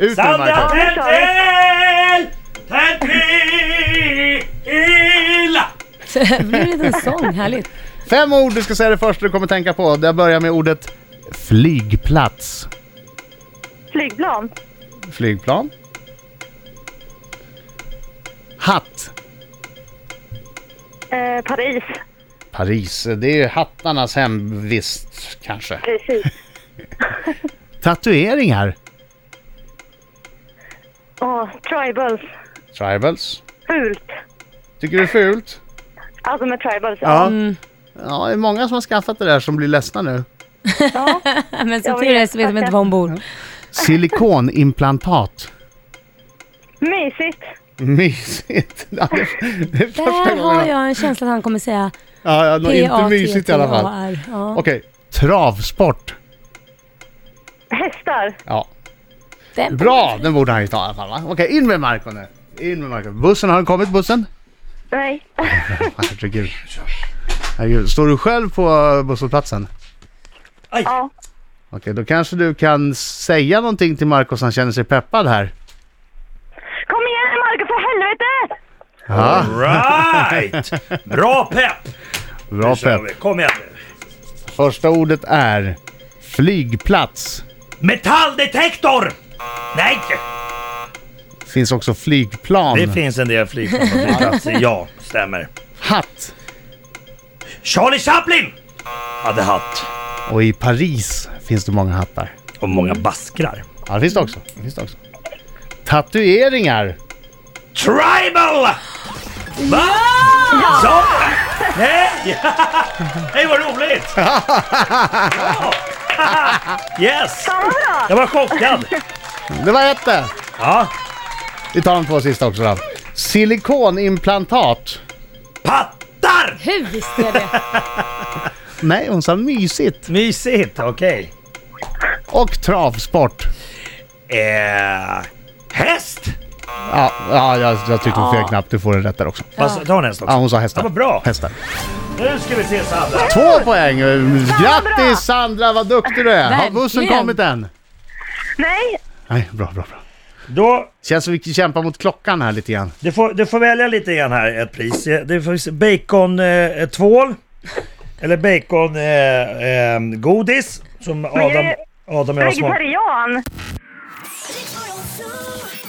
Ut med Sandra Michael! Tentel! Tentilla! Det blir en liten sång, härligt. Fem ord du ska säga det första du kommer tänka på. Jag börjar med ordet flygplats. Flygplan. Flygplan. Hatt. Eh, Paris. Paris, det är ju hattarnas hemvist kanske. Precis. Tatueringar. Åh, tribals. Tribals. Fult. Tycker du det är fult? Mm. Alltså med tribals. Ja, det är många som har skaffat det där som blir ledsna nu. ja. Men som Jag tur är vet, så vet de inte tackar. var hon bor. Silikonimplantat. Mysigt. Mysigt. Ja, det- Det är första Där har gången. jag en känsla att han kommer säga Ja, ja, nå- inte mysigt i alla fall. P-A-T-T-A-R. Ja. Okej, travsport. Hästar. Ja, Den- Bra, den borde han ju ta i alla fall va? Okej, in med Marko nu. In med Marko. Bussen, har den kommit bussen? Ah, Nej. Herregud. Herregud. Står du själv på eh, busshållplatsen? Ja. Okej, då kanske du kan säga någonting till Marko så han känner sig peppad här. Kom igen Marco, för helvete! Ja, Right! Bra pepp! bra pepp. Kom igen nu. Första ordet är flygplats. Metalldetektor! Nej! Finns också flygplan. Det finns en del flygplan på flygplatser, ja, stämmer. Hatt. Charlie Chaplin! Hade hatt. Och i Paris finns det många hattar. Och många baskrar. Ja, det finns det också. Det finns det också. Tatueringar. Tribal! Va? Ja! Så? Nej! Nej, vad roligt! Ja. Yes! Fan vad bra! Jag var chockad. Det var ett där. Ja. Vi tar de två sista också då. Silikonimplantat. Pattar! Hur visste jag det? Nej, hon sa mysigt. Mysigt, okej. Och travsport. Eh, häst! Ja, ja jag, jag tryckte på fel knapp. Du får en rätt där också. Vad sa- Ta en häst också. Ja, hon sa Ja, hästar. vad bra. Hästar. Nu ska vi se Sandra. Två poäng! bra! Grattis Sandra, vad duktig du är! Har bussen Verkligen. kommit än? Nej. Nej, bra, bra, bra. Då, Känns som vi kämpar mot klockan här lite grann. du, får, du får välja lite igen här ett pris. Det finns bacon eh, tvål. Eller bacon eh, eh, godis. Som jag Adam, är Adam och jag smakade. Vegetarian. Rick 102.